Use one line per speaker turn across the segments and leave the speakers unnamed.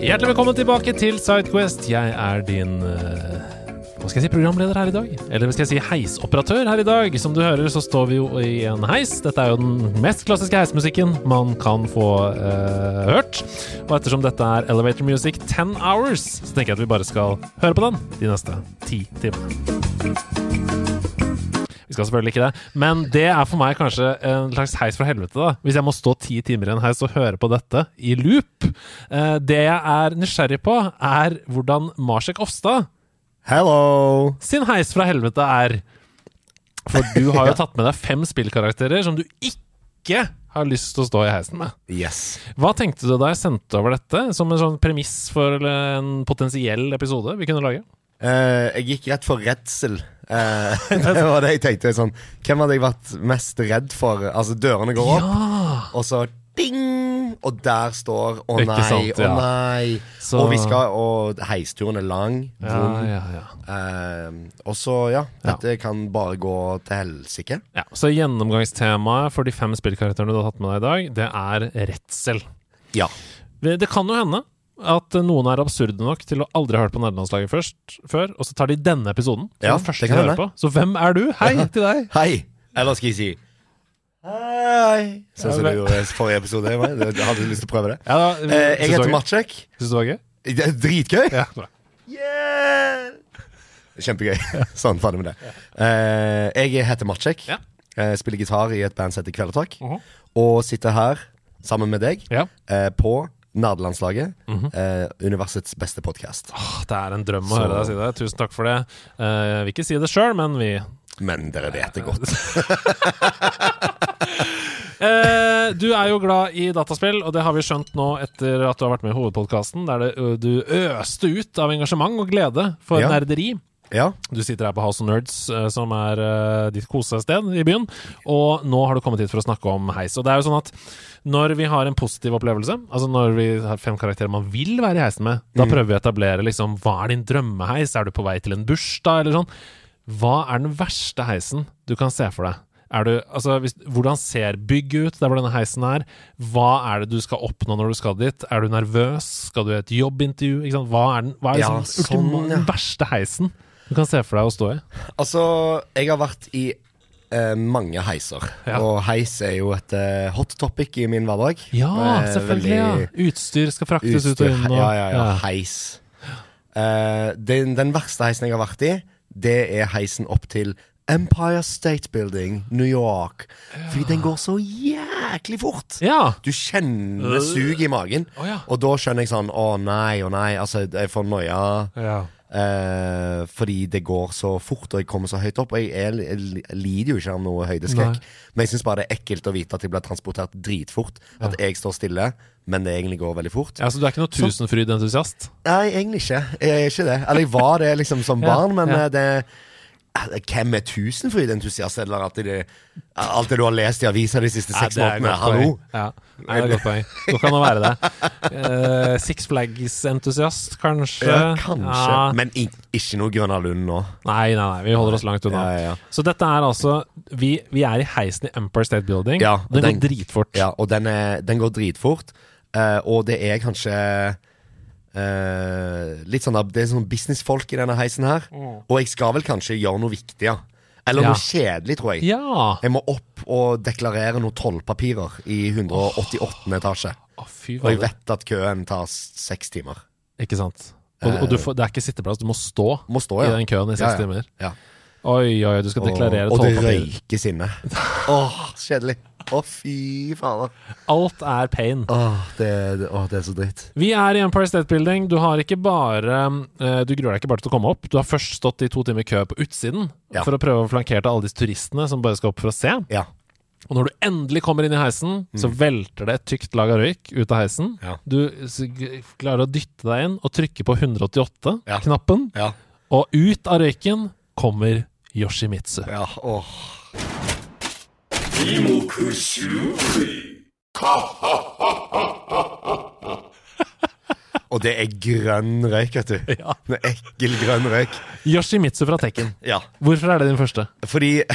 Hjertelig velkommen tilbake til Sidequest. Jeg er din eh, Hva skal jeg si programleder her i dag? Eller skal jeg si heisoperatør her i dag? Som du hører, så står vi jo i en heis. Dette er jo den mest klassiske heismusikken man kan få eh, hørt. Og ettersom dette er Elevator Music 10 Hours, så tenker jeg at vi bare skal høre på den de neste ti timene. Vi skal selvfølgelig ikke det, men det er for meg kanskje en slags heis fra helvete. da Hvis jeg må stå ti timer i en heis og høre på dette i loop. Eh, Det jeg er nysgjerrig på, er hvordan Marsek Ofstad
Hello!
sin heis fra helvete er. For du har jo tatt med deg fem spillkarakterer som du ikke har lyst til å stå i heisen med.
Yes.
Hva tenkte du da jeg sendte over dette som en sånn premiss for eller en potensiell episode vi kunne lage?
Eh, jeg gikk rett for redsel. Eh, det var det jeg tenkte. Sånn, hvem hadde jeg vært mest redd for? Altså, dørene går opp, og så ding! Og der står Å
Ikke
nei,
sant,
å
ja.
nei.
Så-
Og vi skal, og heisturen er lang.
Ja,
vond.
ja, ja.
Eh, og så, ja.
Ja.
Dette kan bare gå til helsike.
Ja, så gjennomgangstemaet for de fem spillkarakterene du har tatt med deg i dag, det er redsel.
Ja.
Det det kan jo hende at noen er absurde nok til å aldri ha hørt på nederlandslaget først, før, og så tar de denne episoden som
Ja,
den første
det kan
de hører
hende.
på. Så hvem er du? Hei til deg!
Hei! Eller skal jeg si Hei! Sånn som
Ja,
du gjorde i forrige episode. Ivar. Hadde du lyst til å prøve det?
Ja, da, synes
Eh, jeg
du
heter
det var gøy?
Matsjek.
Synes du det var gøy?
Det er dritgøy!
Ja, bra.
Yeah! Kjempegøy. sånn, ferdig med det. Eh, jeg heter Matsjek.
Ja.
Eh, spiller gitar i et band som heter Kvelertak.
Mhm.
Og sitter her sammen med deg
ja.
eh, på Nerdelandslaget,
Mhm.
eh, universets beste podkast.
Åh, Det er en drøm å
Så-
høre deg si det. Tusen takk for det. Eh, Jeg vil ikke si det sjøl, men vi
Men dere vet det godt.
Eh, Du er jo glad i dataspill, og det har vi skjønt nå etter at du har vært med i hovedpodkasten, der det, ø, du øste ut av engasjement og glede for
Ja.
nerderi.
Ja,
Du sitter her på House of Nerds, eh, som er eh, ditt kosested i byen. Og nå har du kommet hit for å snakke om heis. Og det er jo sånn at når vi har en positiv opplevelse, altså når vi har fem karakterer man vil være i heisen med, da
Mm.
prøver vi å etablere liksom hva er din drømmeheis? Er du på vei til en bursdag, eller sånn? Hva er den verste heisen du kan se for deg? Er du, altså, hvis, hvordan ser bygget ut der hvor denne heisen er? Hva er det du skal oppnå når du skal dit? Er du nervøs? Skal du i et jobbintervju? Ikke sant? Hva er den hva er
Ja,
liksom,
sånn,
ultima-
ja.
den verste heisen du kan se for deg å stå i?
altså Jeg har vært i eh, mange heiser.
Ja.
Og heis er jo et eh, hot topic i min hverdag.
Ja,
Eh,
selvfølgelig. Ja.
veldig-
Utstyr skal fraktes ut og
Utstyr,
inn. Og,
ja, ja, ja, heis. Eh, den, den verste heisen jeg har vært i, det er heisen opp til Empire State Building, New York. Fordi den går så jæklig fort.
Ja.
Du kjenner sug i magen,
Å, ja.
og da skjønner jeg sånn Å nei, å nei. Altså, jeg får noia. eh, fordi det går så fort, og jeg kommer så høyt opp. Og jeg, er, jeg lider jo ikke av noe høydeskrekk.
Nei.
Men jeg syns bare det er ekkelt å vite at jeg blir transportert dritfort. At jeg står stille, men det egentlig går veldig fort.
Ja, så du er ikke noe Tusenfryd-entusiast?
Nei, egentlig ikke. Jeg er ikke det. Eller jeg var det liksom som barn, men
ja.
eh, det eh, hvem er Tusenfryd-entusiast? Eller at det, alt det du har lest i avisa de siste seks månedene? Hallo?
Ja, Nei, det er et godt poeng. Det kan jo være det. Eh, Six Flags-entusiast, kanskje?
Ja, kanskje.
Ja.
Men i, ikke noe Grønna Lund nå.
Nei, nei, nei, vi holder oss langt unna.
Ja, ja, ja.
Så dette er altså Vi, vi er i heisen i Empire State Building.
Ja,
den,
den-
går dritfort.
Ja, og den, er, den går dritfort. eh, og det er kanskje eh, litt sånn at Det er sånn businessfolk i denne heisen her. Og jeg skal vel kanskje gjøre noe viktig, ja. Eller
Mm. Ja.
noe kjedelig, tror jeg.
Ja.
Jeg må opp og deklarere noen tollpapirer i 188. etasje.
Å, fy
Og
fader.
jeg vet at køen tar s- seks timer.
Ikke sant. Og, og du får, det er ikke sitteplass, du må stå,
Må stå, Eh. ja.
i den køen i seks
Ja, ja.
timer.
Ja.
Oi, oi, oi, du skal
Og,
deklarere
og det
tollpapirer.
røykes inne. Åh, kjedelig. Å, fy fader.
Alt er pain.
Åh, det, det, åh, det er så dritt.
Vi er i Empire State Building. Du har ikke bare eh, Du gruer deg ikke bare til å komme opp. Du har først stått i to timer kø på utsiden
Ja.
for å prøve å flankere til alle disse turistene som bare skal opp for å se.
Ja.
Og når du endelig kommer inn i heisen, så velter det et tykt lag av røyk ut av heisen.
Mm. Ja.
Du s- g- klarer å dytte deg inn og trykke på
Ja.
188-knappen,
Ja.
og ut av røyken kommer Yoshimitsu.
ja åh. Og det er grønn røyk, vet du.
Ja.
Det er ekkel grønn røyk.
Yoshimitsu fra Tekken.
Ja.
Hvorfor er det din første?
Fordi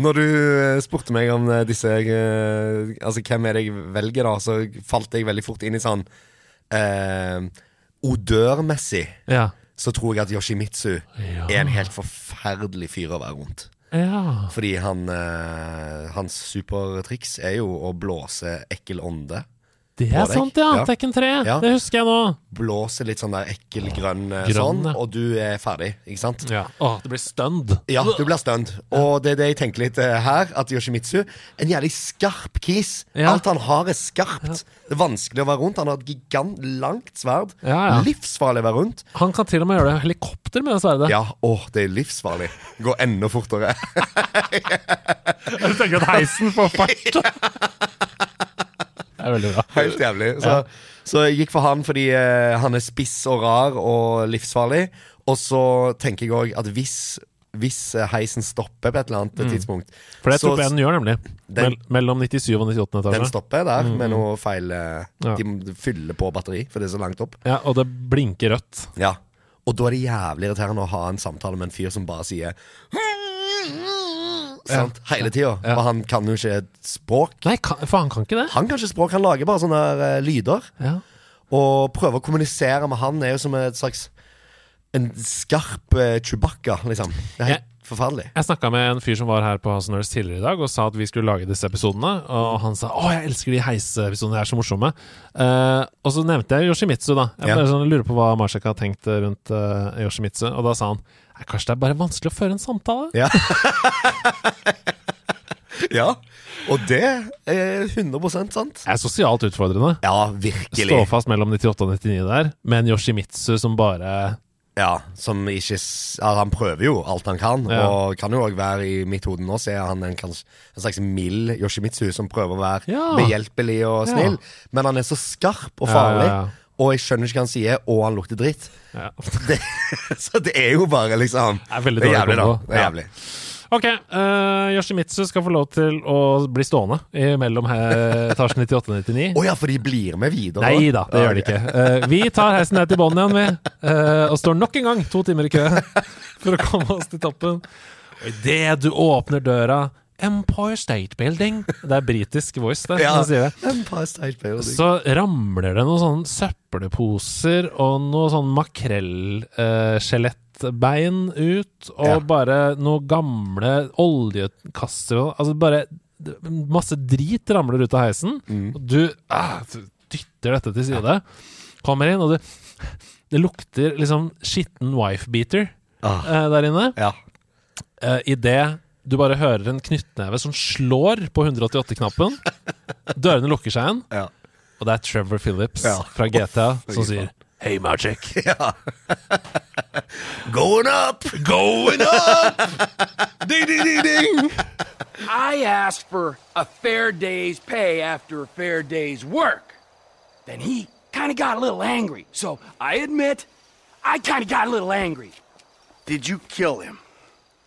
Når du eh, spurte meg om eh, disse eh, Altså hvem er det jeg velger, da, så falt jeg veldig fort inn i sånn eh, Odørmessig
Ja.
så tror jeg at Yoshimitsu
Ja.
er en helt forferdelig fyr å være rundt.
ja.
Fordi han, eh, hans supertriks er jo å blåse ekkel ånde.
Det
På
er
deg.
sant, ja.
Ja.
Tekken 3.
Ja.
Det husker jeg nå.
Blåse litt sånn der ekkel grønn, eh,
Grønn,
sånn,
ja.
og du er ferdig, ikke sant?
Ja. Åh, det blir stunned.
Ja, du blir stunned. Og det er det jeg tenker litt eh, her. At Yoshimitsu En jævlig skarp kis.
Ja.
Alt han har, er skarpt. Det er vanskelig å være rundt. Han har et gigant, langt sverd.
Ja, ja.
Livsfarlig å være rundt.
Han kan til og med gjøre det helikopter med det sverdet.
Ja, åh, det er livsfarlig. Gå enda fortere.
Jeg tenker at heisen får fart. Det er veldig bra.
Helt jævlig. Så, så jeg gikk for han fordi eh, han er spiss og rar og livsfarlig. Og så tenker jeg òg at hvis, hvis eh, heisen stopper på et eller annet tidspunkt
Mm. For det
så-
tror jeg den gjør, nemlig.
Den-
Mell mellom 97 og 98
Den
etasje.
stopper der med noe feil eh,
Mm. Ja.
De fyller på batteri, for det er så langt opp.
Ja, og det blinker rødt.
Ja. Og da er det jævlig irriterende å ha en samtale med en fyr som bare sier Sant? Hele tida. Og han kan jo ikke et språk.
Nei, kan, for han kan ikke det.
Han kan ikke språk, han lager bare sånne eh, lyder.
Ja.
Og prøve å kommunisere med han er jo som et slags En skarp eh, Chewbacca, liksom. Det er helt forferdelig.
Jeg snakka med en fyr som var her på House Nurse tidligere i dag og sa at vi skulle lage disse episodene. Og han sa 'Å, jeg elsker de heiseepisodene, de er så morsomme'. Eh, og så nevnte jeg Yoshimitsu, da. Jeg
Ja.
bare sånn, lurer på hva Marsek har tenkt rundt eh, Yoshimitsu. Og da sa han Nei, kanskje det er bare vanskelig å føre en samtale?
Ja. ja. Og det er 100 sant.
Det er sosialt utfordrende.
Ja, virkelig.
Stå fast mellom 98 og 99 der, med en Yoshimitsu som bare
Ja, som ikke s- altså, Han prøver jo alt han kan,
Ja.
og kan jo òg være i mitt hode nå, så er han en, kans- en slags mild Yoshimitsu som prøver å være
Ja.
behjelpelig og
Ja.
snill, men han er så skarp og
Ja,
farlig,
ja, ja.
og jeg skjønner ikke hva han sier, og han lukter dritt.
ja.
Det, så det er jo bare liksom Det
er veldig
det er
dårlig
jævlig, da.
kombo.
Det er
Ja.
jævlig.
Ok, eh, Yoshimitsu skal få lov til å bli stående i- mellom eh, etasjen 98 og 99.
Å ja, for de blir med videre?
Nei da, det gjør de ikke. Eh, vi tar heisen ned til bånn igjen, vi. eh, og står nok en gang to timer i kø for å komme oss til toppen. Og idet du åpner døra Empire State Building Det er britisk voice, det.
Ja.
som sier det.
Empire State Building.
Så ramler det noen sånne søppelposer og noe sånn makrellskjelettbein ut, og
Ja.
bare noen gamle oljekasser og Altså bare d- masse drit ramler ut av heisen, og du, ah, du dytter dette til side. Kommer inn, og du, det lukter liksom skitten wife-beater
Ah.
eh, der inne.
Ja.
Uh, Idet du bare hører en knyttneve som slår på 188-knappen, dørene lukker seg igjen.
Ja.
Og det er Trevor Phillips
Ja.
fra GTA som
faen.
sier Hey Magic,
ja. Going up! Going up! ding, ding, ding, ding!
I asked for a fair day's pay after a fair day's work. Then he kind of got a little angry. So I admit, I kind of got a little angry.
Did you kill him?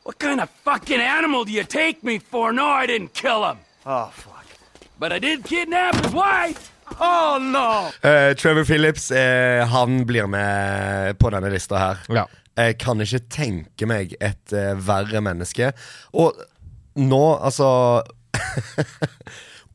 What kind of fucking animal do you take me for? No, I didn't kill him.
Oh, fuck.
But I did kidnap his wife. Oh, no.
Eh, Trevor Phillips eh, Han blir med på denne lista her.
Ja.
Jeg kan ikke tenke meg et eh, verre menneske. Og nå, altså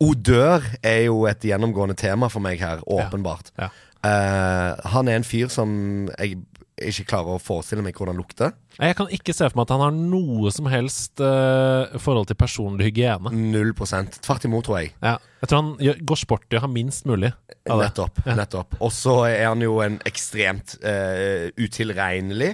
Odør er jo et gjennomgående tema for meg her, åpenbart.
Ja.
Eh, han er en fyr som jeg ikke klarer å forestille meg hvordan lukter.
Jeg kan ikke se for meg at han har noe som helst eh, forhold til personlig hygiene.
Null prosent. Tvert imot, tror jeg.
Ja. Jeg tror han gjør, går sport i å ha minst mulig av det.
Nettopp. nettopp Og så er han jo en ekstremt eh, utilregnelig,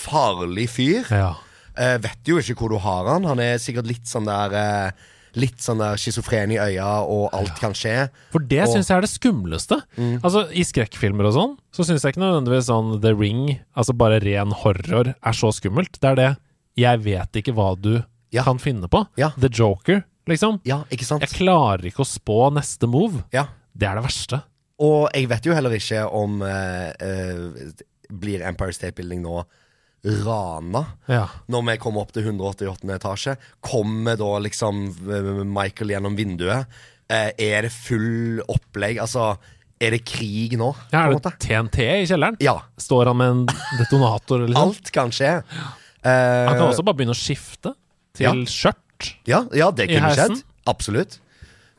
farlig fyr.
Ja.
Eh, vet jo ikke hvor du har han. Han er sikkert litt sånn der eh, litt sånn der schizofren i øya, og alt kan skje.
For det
Og-
syns jeg er det skumleste.
Mm.
Altså I skrekkfilmer og sånn, så syns jeg ikke nødvendigvis sånn The Ring, altså bare ren horror, er så skummelt. Det er det Jeg vet ikke hva du
Ja.
kan finne på.
Ja.
The Joker, liksom.
Ja, ikke sant?
Jeg klarer ikke å spå neste move.
Ja.
Det er det verste.
Og jeg vet jo heller ikke om eh, eh, Blir Empire State Building nå rana?
Ja.
Når vi kommer opp til 188. etasje, kommer da liksom eh, Michael gjennom vinduet? Eh, er det full opplegg? Altså, er det krig nå?
Ja,
på
er
en
det
måte?
TNT i kjelleren?
Ja.
Står han med en detonator? Eller noe?
Alt kan skje.
Han kan
Eh,
også bare begynne å skifte til
Ja.
skjørt.
Ja, ja det
I
kunne
heisen?
skjedd. Absolutt.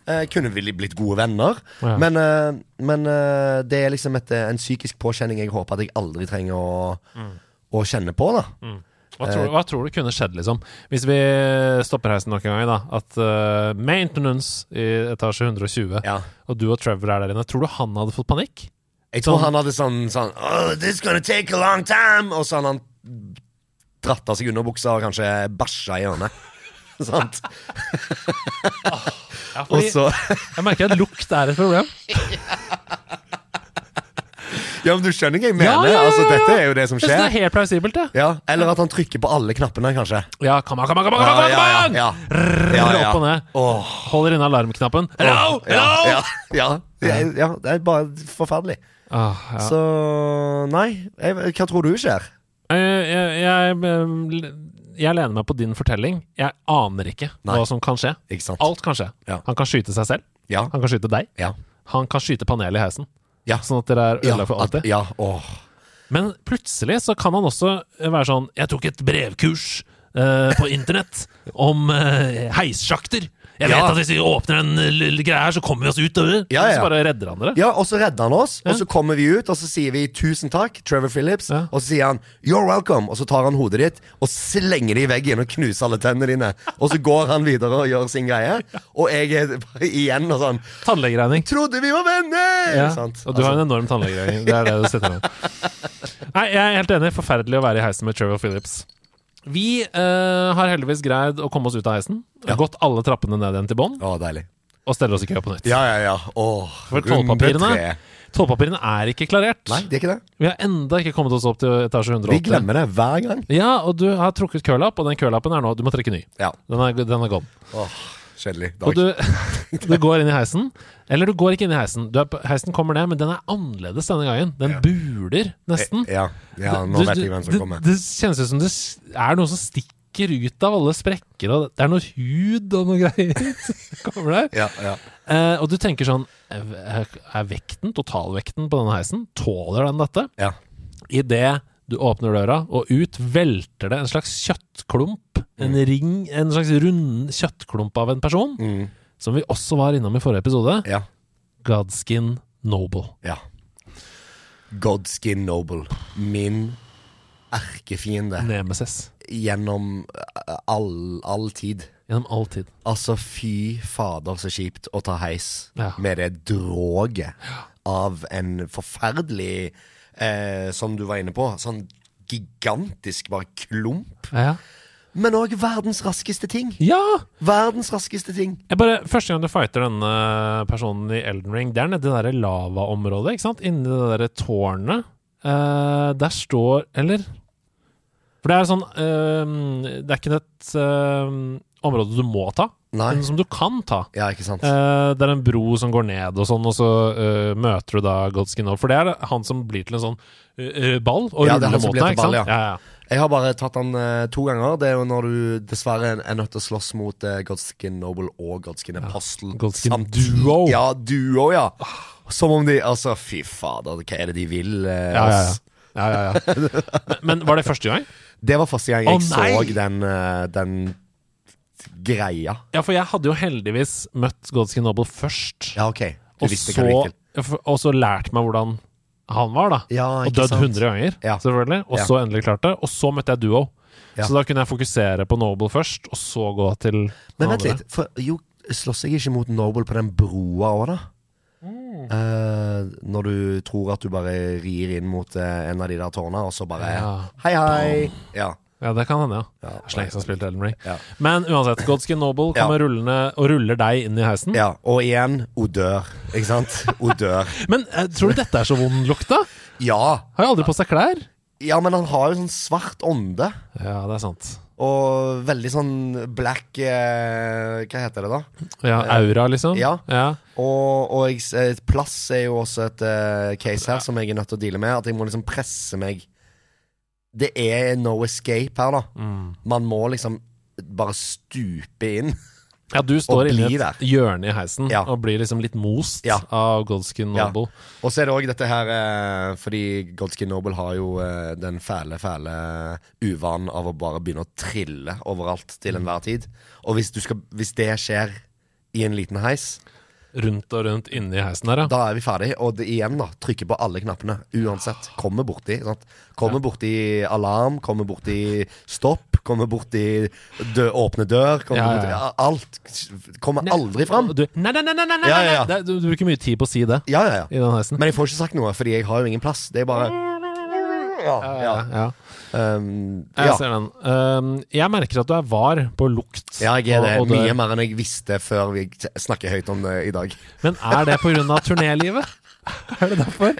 Eh, kunne vi blitt gode venner.
Ja.
Men, eh, men eh, det er liksom et, eh, en psykisk påkjenning jeg håper at jeg aldri trenger å,
Mm.
å kjenne på. da
Hva tror,
Eh.
du- hva tror du kunne skjedd, liksom? Hvis vi stopper heisen nok en gang, da. At eh, maintenance i etasje 120,
Ja.
og du og Trevor er der inne, tror du han hadde fått panikk?
Jeg tror
Sånn-
han hadde sånn sånn oh, This is gonna take a long time! Og så hadde han dratt av seg underbuksa og kanskje bæsja i hjørnet. Sant?
Ja,
Og
fordi
så
jeg merker at lukt er et problem.
Ja, men du skjønner hva jeg mener?
ja, ja,
Altså,
ja, ja.
dette er jo det som
Jeg synes det er
skjer.
helt plausibelt, det.
Ja, eller at han trykker på alle knappene, kanskje.
Ja, kom an, kom an, kom an! Kom
Ja,
an,
ja,
kom an!
ja, ja. Ja, ja.
Opp og ned.
Åh.
Holder inne alarmknappen. Hello! Hello!
Ja, ja, ja, ja, ja, det er bare forferdelig.
Ah, ja.
Så nei, jeg, hva tror du skjer?
Eh, jeg, jeg, eh, jeg lener meg på din fortelling. Jeg aner ikke
Nei.
hva som kan skje.
Ikke sant?
Alt kan skje.
Ja.
Han kan skyte seg selv.
Ja.
Han kan skyte deg.
Ja.
Han kan skyte panelet i heisen.
Ja.
Sånn at dere er
Ja,
ødelagt for
at-
alltid.
ja, åh.
Men plutselig så kan han også være sånn Jeg tok et brevkurs eh, på internett om eh, heissjakter. Jeg vet
Ja.
at hvis vi åpner den lille greia her, så kommer vi oss ut av det.
Ja,
Så
ja.
bare redder han dere.
ja, og så redder han oss, og så kommer vi ut, og så sier vi tusen takk, Trevor Phillips,
Ja.
og så sier han you're welcome, og så tar han hodet ditt og slenger det i veggen og knuser alle tennene dine, og så går han videre og gjør sin greie, og jeg er bare igjen og sånn
Tannlegeregning.
Trodde vi var venner!
Ja.
Sant?
Og du har en enorm tannlegeregning. Det er det du setter med. Nei, jeg er helt enig. Forferdelig å være i heisen med Trevor Phillips. Vi eh, har heldigvis greid å komme oss ut av heisen. Gått alle trappene ned igjen til bånn
Å, deilig.
og steller oss i kø på nytt.
Ja, ja, ja. Åh,
For
runde
tollpapirene,
tre.
tollpapirene er ikke klarert.
Nei, det er ikke det.
Vi har enda ikke kommet oss opp til etasje
Vi
108.
glemmer det hver gang.
Ja, og du har trukket kølapp, og den kølappen er nå Du må trekke ny.
Ja.
Den er, den er gone.
Åh, kjedelig
Og
dag.
du, du går inn i heisen. Eller du går ikke inn i heisen. Du er, på- heisen kommer ned, men den er annerledes denne gangen. Den buler nesten.
Eh, Ja, ja nå vet jeg hvem som
det,
kommer.
Det kjennes ut som det s- er noe som stikker ut av alle sprekker, og det er noe hud og noe greier som kommer der.
Ja, ja.
Eh, og du tenker sånn Er er vekten, totalvekten på denne heisen, tåler den dette?
ja.
Idet du åpner døra, og ut velter det en slags kjøttklump, en ring, en slags rund kjøttklump av en person, som vi også var innom i forrige episode,
ja,
Godskin Noble.
ja. Godskin Noble. Min erkefiende
Nemesis.
gjennom eh, all, all tid.
Gjennom all tid.
Altså, fy fader, så kjipt å ta heis
Ja.
med det droget av en forferdelig eh, Som du var inne på, sånn gigantisk bare klump.
Ja.
Men òg verdens raskeste ting.
ja!
Verdens raskeste ting.
Jeg bare, Første gang du fighter denne personen i Elden Ring, det er nede i det der lavaområdet. ikke sant? Inni det derre tårnet. Eh, der står Eller? For det er sånn eh, Det er ikke et eh, område du må ta,
Nei.
men som du kan ta.
Ja, ikke sant?
Eh, det er en bro som går ned, og sånn, og så eh, møter du da Godskin Hall. For det er han som blir til en sånn eh, eh, ball og
Ja, det er han
ruller
som
mot
blir til
deg. ikke sant?
ball, ja.
Ja, ja.
Jeg har bare tatt den eh, to ganger. Det er jo når du dessverre er nødt til å slåss mot eh, Godskin Noble og Godskin Apostle.
Godskin
samtidig.
Duo. Ah.
Ja, duo, ja. Som om de Altså, fy fader, hva er det de vil? eh,
Ja, ja, ja.
oss?
ja, ja, ja. Men, men var det første gang?
Det var første gang jeg
Å, nei!
så den, eh, den greia.
Ja, for jeg hadde jo heldigvis møtt Godskin Noble først.
Ja, ok. Du
og,
visste hva det
så,
gikk til.
og så lært meg hvordan han var, da.
Ja,
og
ikke
dødd
sant?
100 ganger,
Ja.
selvfølgelig. Og
Ja.
så endelig klarte det. Og så møtte jeg Duo.
Ja.
Så da kunne jeg fokusere på Noble først, og så gå til den
Men vent
andre.
litt, for jo, slåss jeg ikke mot Noble på den broa òg, da?
Mm.
Eh, når du tror at du bare rir inn mot eh, en av de der tårna, og så bare
Ja.
Hei, hei! Ja.
Ja, det kan hende, ja.
Ja.
Det er så lenge siden jeg har spilt Elden Ring.
Ja.
Men uansett, Godskin Noble kommer rullende og ruller deg inn i heisen.
Ja, og igjen odør, ikke sant? Odør.
Men eh, tror du dette er så vond lukt, da?
Ja.
Har jo aldri på seg klær.
ja, men han har jo sånn svart ånde.
Ja, det er sant.
Og veldig sånn black eh, Hva heter det, da?
Ja, Aura, liksom.
Eh, Ja.
ja.
Og, og jeg, s- eh, plass er jo også et eh, case her som jeg er nødt til å deale med. At jeg må liksom presse meg. Det er no escape her, da. Man må liksom bare stupe inn.
Ja, du står
Og
inni et
blir der.
hjørne i heisen
Ja.
og blir liksom litt most
Ja.
av Goldskin
Ja.
Noble.
Og så er det òg dette her eh, Fordi Godskin Noble har jo eh, den fæle, fæle uvanen av å bare begynne å trille overalt til enhver tid. Og hvis, du skal, hvis det skjer i en liten heis,
Rundt og rundt inni heisen her, ja.
da er vi ferdig. Og det, igjen, da. Trykke på alle knappene. Uansett. Kommer borti. Sant? Kommer borti alarm, kommer borti stopp, kommer borti dø, åpne dør.
Ja,
Kommer
ja,
borti,
ja.
ja, alt kommer aldri fram.
Du, nei, nei, nei, nei, nei, nei,
Ja, ja, ja.
nei. Det- Du, du bruker mye tid på å si det
Ja, ja, ja.
i den heisen.
Men jeg får ikke sagt noe, fordi jeg har jo ingen plass. Det er bare ja, ja.
ja.
Um,
Jeg
ja.
ser den. Um, jeg merker at du er var på lukt.
ja, jeg er det.
og- og dør.
Mye mer enn jeg visste før vi t- snakker høyt om det i dag.
Men er det pga. turnélivet? Er det derfor?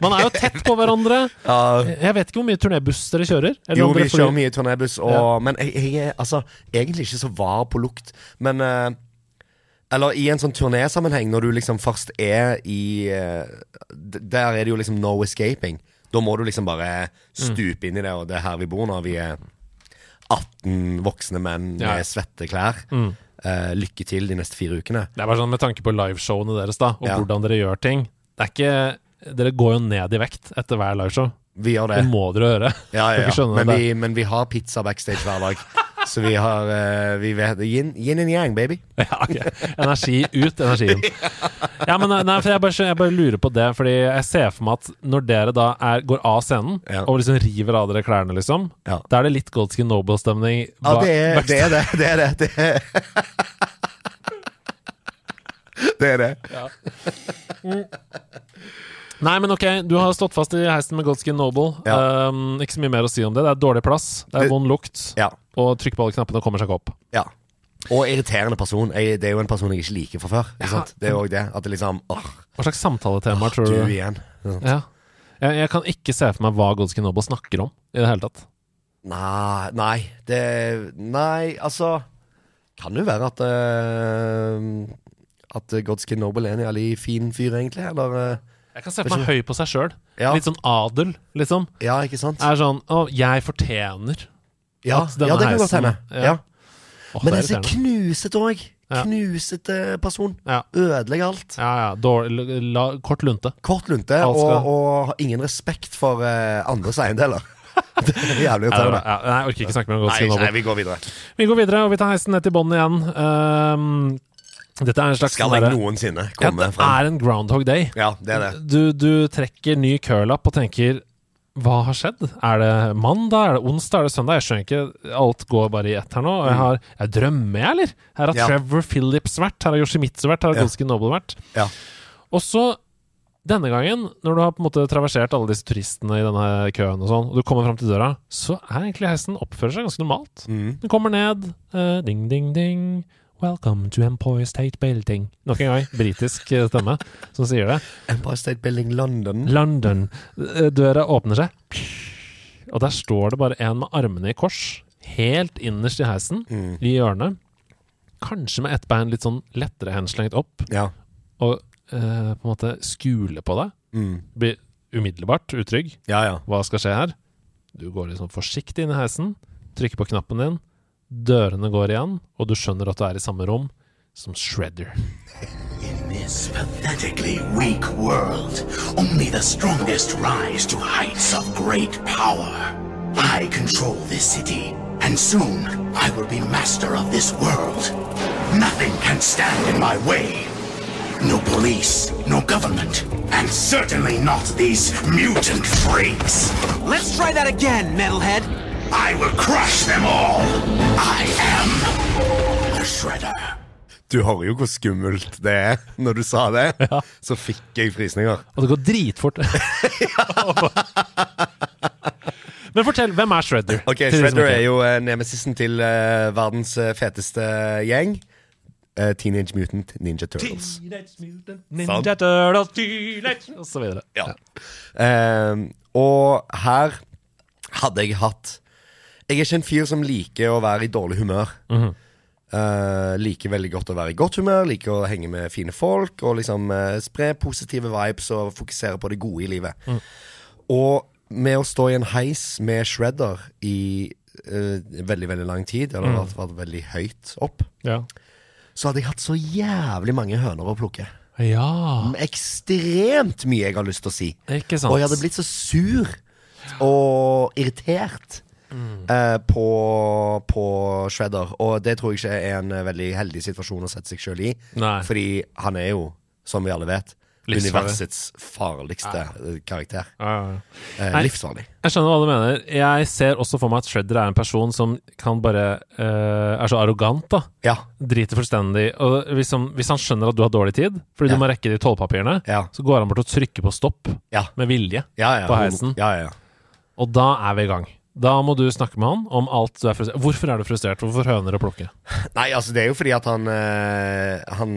Man er jo tett på hverandre. Jeg vet ikke hvor mye turnébusser dere kjører. eller
Jo,
om
vi
dere flyr.
kjører mye turnébuss, og
Ja.
Men jeg, jeg er altså egentlig ikke så var på lukt, men eh, Eller i en sånn turnésammenheng, når du liksom først er i eh, d- Der er det jo liksom no escaping. Da må du
Mm.
liksom bare stupe inn i det, og det er her vi bor nå. Vi er 18 voksne menn
Ja. Mm.
med svette klær. Eh, lykke til de neste fire ukene.
Det er bare sånn med tanke på liveshowene deres da og
Ja.
hvordan dere gjør ting. Det er ikke Dere går jo ned i vekt etter hver liveshow.
Vi gjør
Det
det.
må dere gjøre.
Ja,
Dere
ja, ja.
skjønner
Men,
det.
vi, men vi har pizza backstage hver dag. Så vi har eh, vi vet, yin, yin and yang, baby.
Ja, ok. Energi ut, energi inn. Ja, men nei, for jeg, bare, skjø- jeg bare lurer på det, Fordi jeg ser for meg at når dere da er, går av scenen
Ja.
og liksom river av dere klærne, liksom,
Ja.
da er det litt Goldskin Noble-stemning.
Ja,
bak-
det er det. Er det, det, er det, det, er. det er det.
Nei, men ok, du har stått fast i heisen med Goldskin Noble.
Ja.
Um, ikke så mye mer å si om det. Det er dårlig plass, det er
Det-
vond lukt,
Ja.
og trykk på alle knappene og kommer seg ikke opp.
ja. Og irriterende person. Jeg, det er jo en person jeg ikke liker fra før. Ikke sant? Det er jo også det. At det liksom åh,
Hva slags samtaletemaer tror
Ah, du
du?
igjen. Sånn.
Ja. Jeg, jeg kan ikke se for meg hva Goldskin Noble snakker om i det hele tatt.
Nei, nei, det Nei, altså Kan jo være at eh, At Godskin Noble er en jævlig fin fyr, egentlig. Eller eh,
Jeg kan se for meg høy på seg sjøl.
Ja.
Litt sånn adel, liksom.
Ja, ikke sant?
Er sånn Å, jeg fortjener.
Ja,
at denne
ja det kan godt
heisen-
hende.
ja.
Ja.
Åh,
Men
det
en
er
så
irriterende.
knusete òg.
Ja.
Knusete person.
Ja,
Ødelegger alt.
ja. ja dårlig, la, kort lunte.
Kort lunte
Alt
og,
skal-
og har ingen respekt for eh, andres eiendeler. Det er jævlig
Ja, det var
irriterende.
det. Ja, nei, jeg orker ikke snakke med
Nei,
Goldskin
nei,
Noble.
vi går videre.
Vi går videre, og vi tar heisen ned til bånn igjen. Ehm, dette er en slags
Skal
sånn
jeg
derre-
noensinne
ja,
komme
Det
frem?
er en Groundhog Day.
Ja, det er det.
Du, du trekker ny curl-up og tenker hva har skjedd? Er det mandag? Er det onsdag? Er det søndag? Jeg skjønner ikke. Alt går bare i ett her nå. Og jeg har, jeg drømmer jeg, eller? Her har
Mm. Ja.
Trevor Phillips vært. Her har Yoshimitsu vært. Her har
Ja.
Golskin Noble vært.
Ja.
Og så, denne gangen, når du har på en måte traversert alle disse turistene i denne køen og sånn, og du kommer fram til døra, så er egentlig heisen oppfører seg ganske normalt.
Mm.
Den kommer ned. eh, ding, ding, ding. Welcome to Empire State Building. Nok en gang britisk eh, stemme som sier det.
Empire State Building London.
London. Eh, Døra åpner seg, og der står det bare en med armene i kors, helt innerst i heisen,
Mm,
i hjørnet. Kanskje med ett bein litt sånn lettere henslengt opp,
Ja.
og eh, på en måte skule på deg.
Mm.
Blir umiddelbart utrygg.
Ja, ja.
Hva skal skje her? Du går liksom forsiktig inn i heisen, trykker på knappen din, dørene går igjen, og du skjønner at du er i samme rom som Shredder.
In this pathetically weak world, only the strongest rise to heights of great power. I control this city, and soon I will be master of this world. Nothing can stand in my way. No police, no government, and certainly not these mutant freaks.
Let's try that again, Metalhead.
I will crush them all. I am the Shredder.
Du hører jo hvor skummelt det er når du sa det. Så fikk jeg frysninger.
Og det går dritfort. Men fortell, hvem er Shredder?
Ok,
Til de som
Shredder
ikke-
er jo eh, nemesisen til eh, verdens eh, feteste gjeng. Eh, Teenage Mutant Ninja Turtles.
Teenage Mutant Ninja Turtles, Teenage Og så videre.
Ja. Ehm, og her hadde jeg hatt Jeg er ikke en fyr som liker å være i dårlig humør. Eh, liker veldig godt å være i godt humør, liker å henge med fine folk og liksom eh, spre positive vibes og fokusere på det gode i livet. Og med å stå i en heis med shredder i eh, veldig, veldig lang tid, eller mm. vært veldig høyt opp,
Ja.
så hadde jeg hatt så jævlig mange høner å plukke
ja.
ekstremt mye jeg har lyst til å si.
Ikke sant.
Og jeg hadde blitt så sur og irritert
Mm.
eh, på, på Shredder. Og det tror jeg ikke er en eh, veldig heldig situasjon å sette seg sjøl i.
Nei.
Fordi han er jo, som vi alle vet,
Livsfarlig.
universets farligste eh, karakter.
Ja, ja.
Eh,
Nei.
livsfarlig.
Jeg skjønner hva du mener. Jeg ser også for meg at Shredder er en person som kan bare eh, Er så arrogant, da.
Ja.
Driter fullstendig. Og hvis han, hvis han skjønner at du har dårlig tid, fordi
Ja.
du må rekke de tollpapirene,
Ja.
så går han bort og trykker på stopp
Ja.
med vilje
Ja, ja,
på heisen.
Ja, ja, ja.
Og da er vi i gang. Da må du snakke med han om alt du er frustrert Hvorfor er du frustrert? Hvorfor høner å plukke?
Nei, altså, det er jo fordi at han eh, Han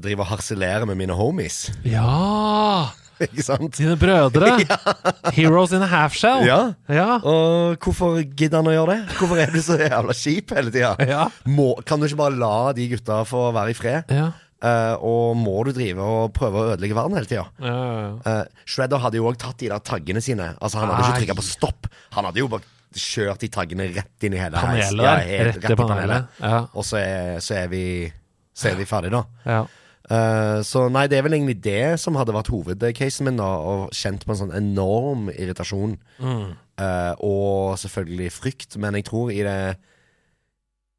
driver og harselerer med mine homies,
Ja!
ikke sant?
Dine brødre! Heroes in a half shell.
Ja.
Ja.
Og hvorfor gidder han å gjøre det? Hvorfor er du så jævla kjip hele tida?
Ja.
Kan du ikke bare la de gutta få være i fred?
Ja.
Eh, og må du drive og prøve å ødelegge verden hele tida?
Ja, ja, ja.
Eh, Shredder hadde jo òg tatt de der taggene sine. Altså Han hadde
Nei.
ikke trykka på stopp. Han hadde jo bare kjørt de taggene rett inn i hele heis.
Panelet
Ja,
der.
helt
Rett i panelet. Ja.
Og så er, så er vi Så er vi ferdige, da.
Ja.
Eh, så nei, det er vel egentlig det som hadde vært hovedcasen min, da. Og kjent på en sånn enorm irritasjon. Eh, og selvfølgelig frykt, men jeg tror i det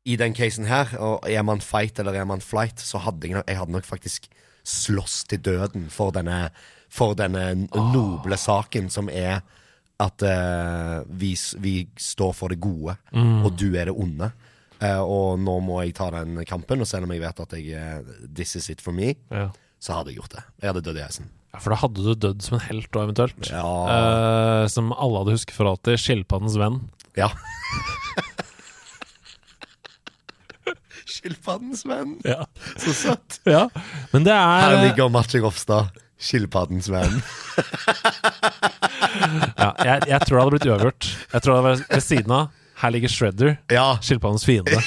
I den casen her, og er man fight eller er man flight, så hadde jeg nok, jeg hadde nok faktisk slåss til døden for denne, for denne noble saken som er at eh, vi, s- vi står for det gode, og du er det onde. Eh, og nå må jeg ta den kampen, og selv om jeg vet at jeg, eh, this is it for me,
Ja.
så hadde jeg gjort det. Jeg hadde dødd i heisen.
Ja, For da hadde du dødd som en helt, og eventuelt.
Ja.
Eh, som alle hadde husket for alltid. Skilpaddens venn.
ja. Skilpaddens venn.
Ja.
Så søtt.
Men det er
Her ligger Matje Gofstad. Skilpaddens venn.
ja, jeg, jeg tror det hadde blitt uavgjort. Jeg tror det hadde vært ved siden av. Her ligger Shredder.
Ja.
Skilpaddens fiende.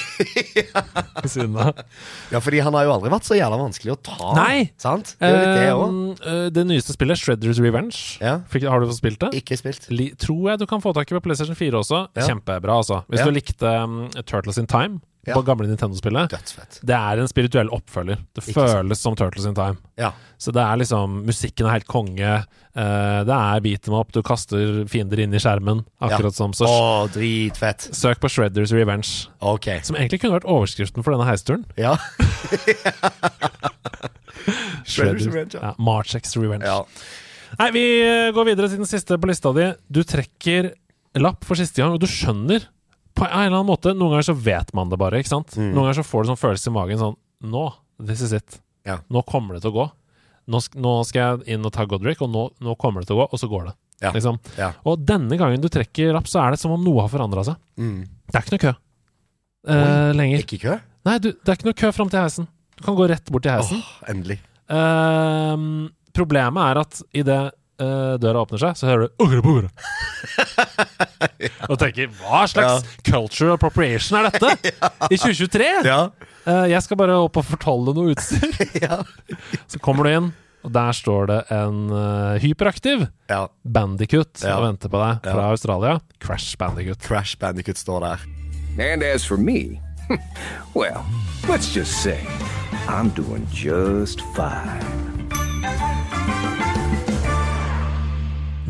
Ved siden av.
ja, fordi han har jo aldri vært så jævla vanskelig å ta.
Nei.
Sant? Det er jo litt det òg.
Eh, eh, det nyeste spillet, Shredders Revenge.
Ja.
Fikk, har du fått spilt det?
Ikke spilt.
Li, tror jeg du kan få tak i på PlayStation 4 også.
Ja.
Kjempebra, altså. Hvis
Ja.
du likte um, Turtles in Time,
Ja.
på gamle Nintendo-spillet,
Dødsfett.
det er en spirituell oppfølger. Det
Ikke sant.
føles som Turtles in Time.
Ja.
Så det er liksom Musikken er helt konge. eh, det er beat them up. Du kaster fiender inn i skjermen, akkurat som så.
Å, dritfett.
Søk på Shredders Revenge,
Ok.
som egentlig kunne vært overskriften for denne heisturen.
Ja.
Shredders-
Revenge, ja.
Ja, Marchex Revenge.
ja.
Nei, vi eh, går videre til den siste på lista di. Du trekker lapp for siste gang, og du skjønner på en eller annen måte Noen ganger så vet man det bare, ikke sant?
Mm.
Noen ganger så får du sånn følelse i magen sånn Nå, this is it.
Ja.
Nå kommer det til å gå. Nå, sk- nå skal jeg inn og ta Godric, og nå, nå kommer det til å gå, og så går det.
Ja.
Liksom.
Ja.
Og denne gangen du trekker lapp, så er det som om noe har forandra seg.
Mm.
Det er ikke noe kø eh, lenger.
Ikke kø?
Nei, du, det er ikke noe kø fram til heisen. Du kan gå rett bort til heisen.
Åh, endelig.
Ehm, problemet er at idet uh, døra åpner seg, så hører du «Ugre bugre». Og tenker hva slags culture appropriation er dette? I 2023?
Ja.
Eh, jeg skal bare opp og fortolle noe utstyr.
Ja.
Så kommer du inn, og der står det en eh, hyperaktiv
ja.
Bandicoot
Ja.
og venter på deg fra
Ja.
Australia. Crash Bandicoot.
Crash Bandicoot står der.
And as for me, well, let's just say I'm doing just fine.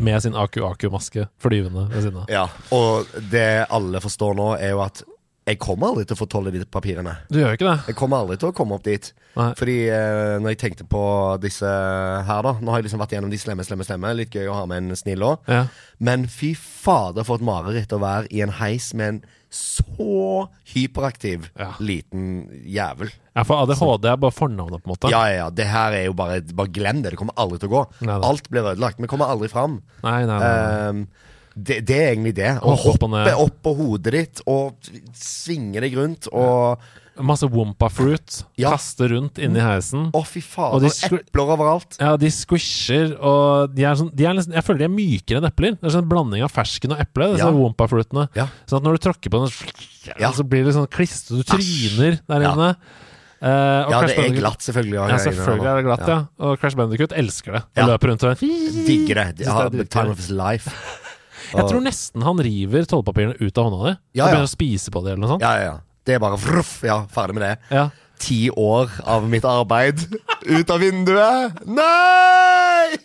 Med sin aku-aku-maske flyvende ved siden av.
Ja. Og det alle forstår nå, er jo at jeg kommer aldri til å få tolv de papirene.
Du gjør jo ikke det.
Jeg kommer aldri til å komme opp dit.
Nei.
Fordi eh, når jeg tenkte på disse her, da Nå har jeg liksom vært gjennom de slemme, slemme, slemme. Litt gøy å ha med en snill òg.
Ja.
Men fy fader, for et mareritt å være i en heis med en så hyperaktiv
Ja.
liten jævel.
Ja, for ADHD er bare fornavnet, på en måte.
Ja, ja, ja. Det her er jo bare Bare glem det. Det kommer aldri til å gå.
Nei, nei.
Alt blir ødelagt. Vi kommer aldri fram.
Nei, nei, nei, nei.
Ehm, det, det er egentlig det. Å
Hoppe opp
hoppe
og ned.
opp på hodet ditt og svinge deg rundt og
Masse wompa fruit
Ja. Mm.
kaste rundt inni heisen.
Å, fy
Og
faen.
de
Og
skru-
epler overalt.
Ja, de squisher, og de er sånn de er nesten, Jeg føler de er mykere enn epler. Det er sånn en blanding av fersken og eple, disse
Ja.
wompa-fruitene.
Ja.
Sånn at når du tråkker på den, så,
Ja.
så blir det sånn klistret Du tryner der
Ja.
inne. Eh, og
Ja,
Crash
det er
Bandicoot-
glatt, selvfølgelig.
Ja, selvfølgelig er det glatt, ja. Og Crash Bandicoot elsker det. Og
Ja.
løper rundt og
Digger det. De
Synes
har
det er dritgøy.
time of his life.
Jeg tror nesten han river tollpapirene ut av hånda di.
Ja,
og
ja.
begynner å spise på det eller noe sånt.
Ja, ja, ja. Det er bare vruff, ja, ferdig med det.
Ja.
Ti år av mitt arbeid ut av vinduet. Nei!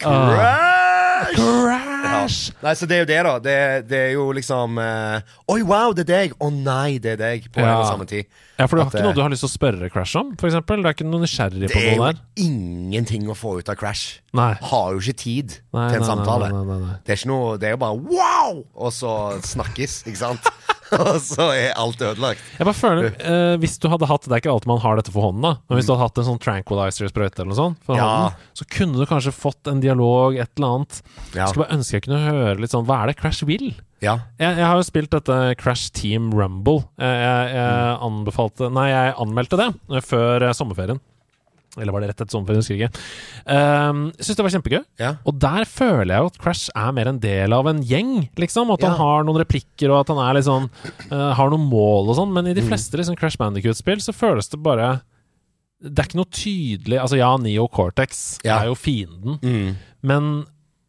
Ah.
Crash!
Crash!
Nei, så det er jo det, da. Det, det er jo liksom eh, Oi, wow, det er deg! Å nei, det er deg! På en
Ja.
og samme tid.
Ja, for du har
At
ikke
det-
noe du har lyst til å spørre Crash om, for eksempel? Du er ikke noe nysgjerrig
Det
på
er jo
noe der?
ingenting å få ut av Crash.
Nei.
Har jo ikke tid
Nei, nei,
til en
nei,
samtale.
nei, nei, nei.
Det er ikke noe Det er jo bare wow! Og så snakkes, ikke sant? og så er alt ødelagt.
Jeg bare føler, eh, hvis du hadde hatt Det er ikke alltid man har dette for hånden, da. Men hvis du hadde hatt en sånn tranquilizer-sprøyte eller noe sånt for
Ja.
hånden, så kunne du kanskje fått en dialog, et eller annet.
Ja.
Skulle bare ønske jeg kunne høre litt sånn Hva er det Crash vil?
Ja.
Jeg, jeg har jo spilt dette Crash Team Rumble. Jeg, jeg, jeg
Mm.
anbefalte Nei, jeg anmeldte det eh, før eh, sommerferien. Eller var det rett etter sommerferien? Husker jeg ikke. Um, Syns det var kjempegøy.
Ja.
Og der føler jeg jo at Crash er mer en del av en gjeng, liksom. At han
Ja.
har noen replikker, og at han er litt sånn eh, Har noen mål og sånn. Men i
Mm.
de fleste liksom, Crash Bandicoot-spill så føles det bare Det er ikke noe tydelig Altså ja, Neo Cortex
Ja. Mm.
er jo fienden, men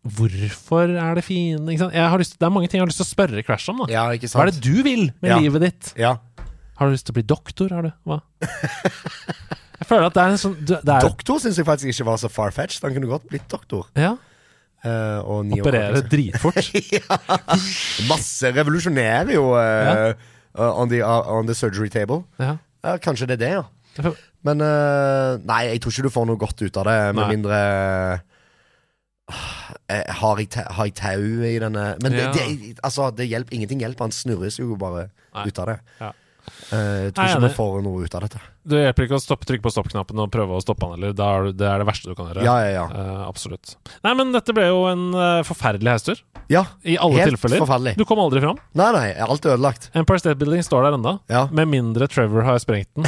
hvorfor er det fienden? Ikke sant? Jeg har lyst, det er mange ting jeg har lyst til å spørre Crash om. da
ja, ikke sant?
Hva er det du vil med
Ja.
livet ditt?
Ja.
Har du lyst til å bli doktor? Har du? Hva? Jeg føler at det er en sånn det det er,
Doktor syns jeg faktisk ikke var så far-fetched. Han kunne godt blitt doktor.
ja,
eh, og ni år
Operere
gammel.
dritfort.
Masse revolusjonerer jo eh, eh, on, the, on the surgery table.
Ja.
Ja, kanskje det er det, ja.
Jeg føler-
Men eh, nei, jeg tror ikke du får noe godt ut av det, med
Nei.
mindre Eh, har, jeg ta, har jeg tau i denne Men det,
Ja.
det, altså, det hjelper, ingenting hjelper. Han snurres jo bare
Nei.
ut av det.
Ja.
Eh, jeg
Nei,
tror ikke
enig.
vi får noe ut av dette.
Det hjelper ikke å stoppe, trykke på stoppknappen og prøve å stoppe han heller. Da er du- Det er det verste du kan gjøre.
Ja, ja, ja.
Eh, absolutt. Nei, men dette ble jo en eh, forferdelig hestur.
ja.
I alle
Helt
tilfeller.
forferdelig.
Du kom aldri fram.
Nei, nei, alt er ødelagt.
Empire State Building står der ennå.
Ja.
Med mindre Trevor har sprengt den.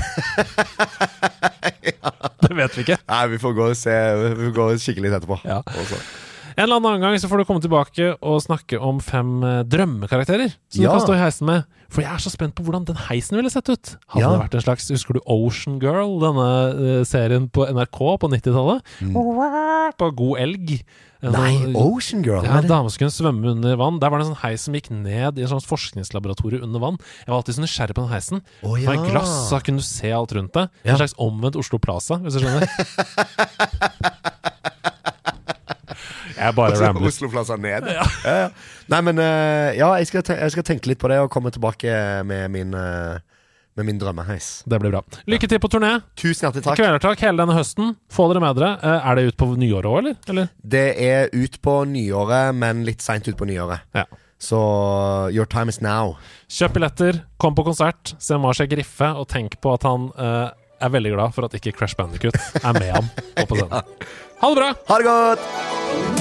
Det vet vi ikke.
Nei, vi får gå og se vi får gå skikkelig litt etterpå.
Ja.
Og så-
En eller annen gang så får du komme tilbake og snakke om fem eh, drømmekarakterer som
Ja.
du kan stå i heisen med. For jeg er så spent på hvordan den heisen ville sett ut. Hadde
Ja.
det vært en slags Husker du Ocean Girl, denne eh, serien på NRK på 90-tallet? På god elg. En
Mm. Nei,
sånn-
Ocean Girl.
ja, en
hva er det?
dame som kunne svømme under vann. Der var det en sånn heis som gikk ned i et sånt forskningslaboratorium under vann. Jeg var alltid så nysgjerrig på den heisen.
Å,
Det var
ja.
i glass, så kunne du se alt rundt deg.
Ja.
En slags omvendt Oslo Plaza, hvis du skjønner. Jeg bare
Oslo-
rambler.
Oslo-plasser ned. Ja. ja. Nei, men eh, ja, jeg skal, te jeg skal tenke litt på det og komme tilbake med min, eh, med min drømmeheis.
Det blir bra. Lykke til på turné.
Tusen hjertelig takk.
Kvelertak hele denne høsten. Få dere med dere. Eh, Er det ut på nyåret òg, eller? eller?
Det er ut på nyåret, men litt seint ut på nyåret.
Ja.
Så your time is now.
Kjøp billetter, kom på konsert, se Marsha griffe, og tenk på at han eh, er veldig glad for at ikke Crash Bandicut er med ham på scenen. Ha det bra!
Ha det godt!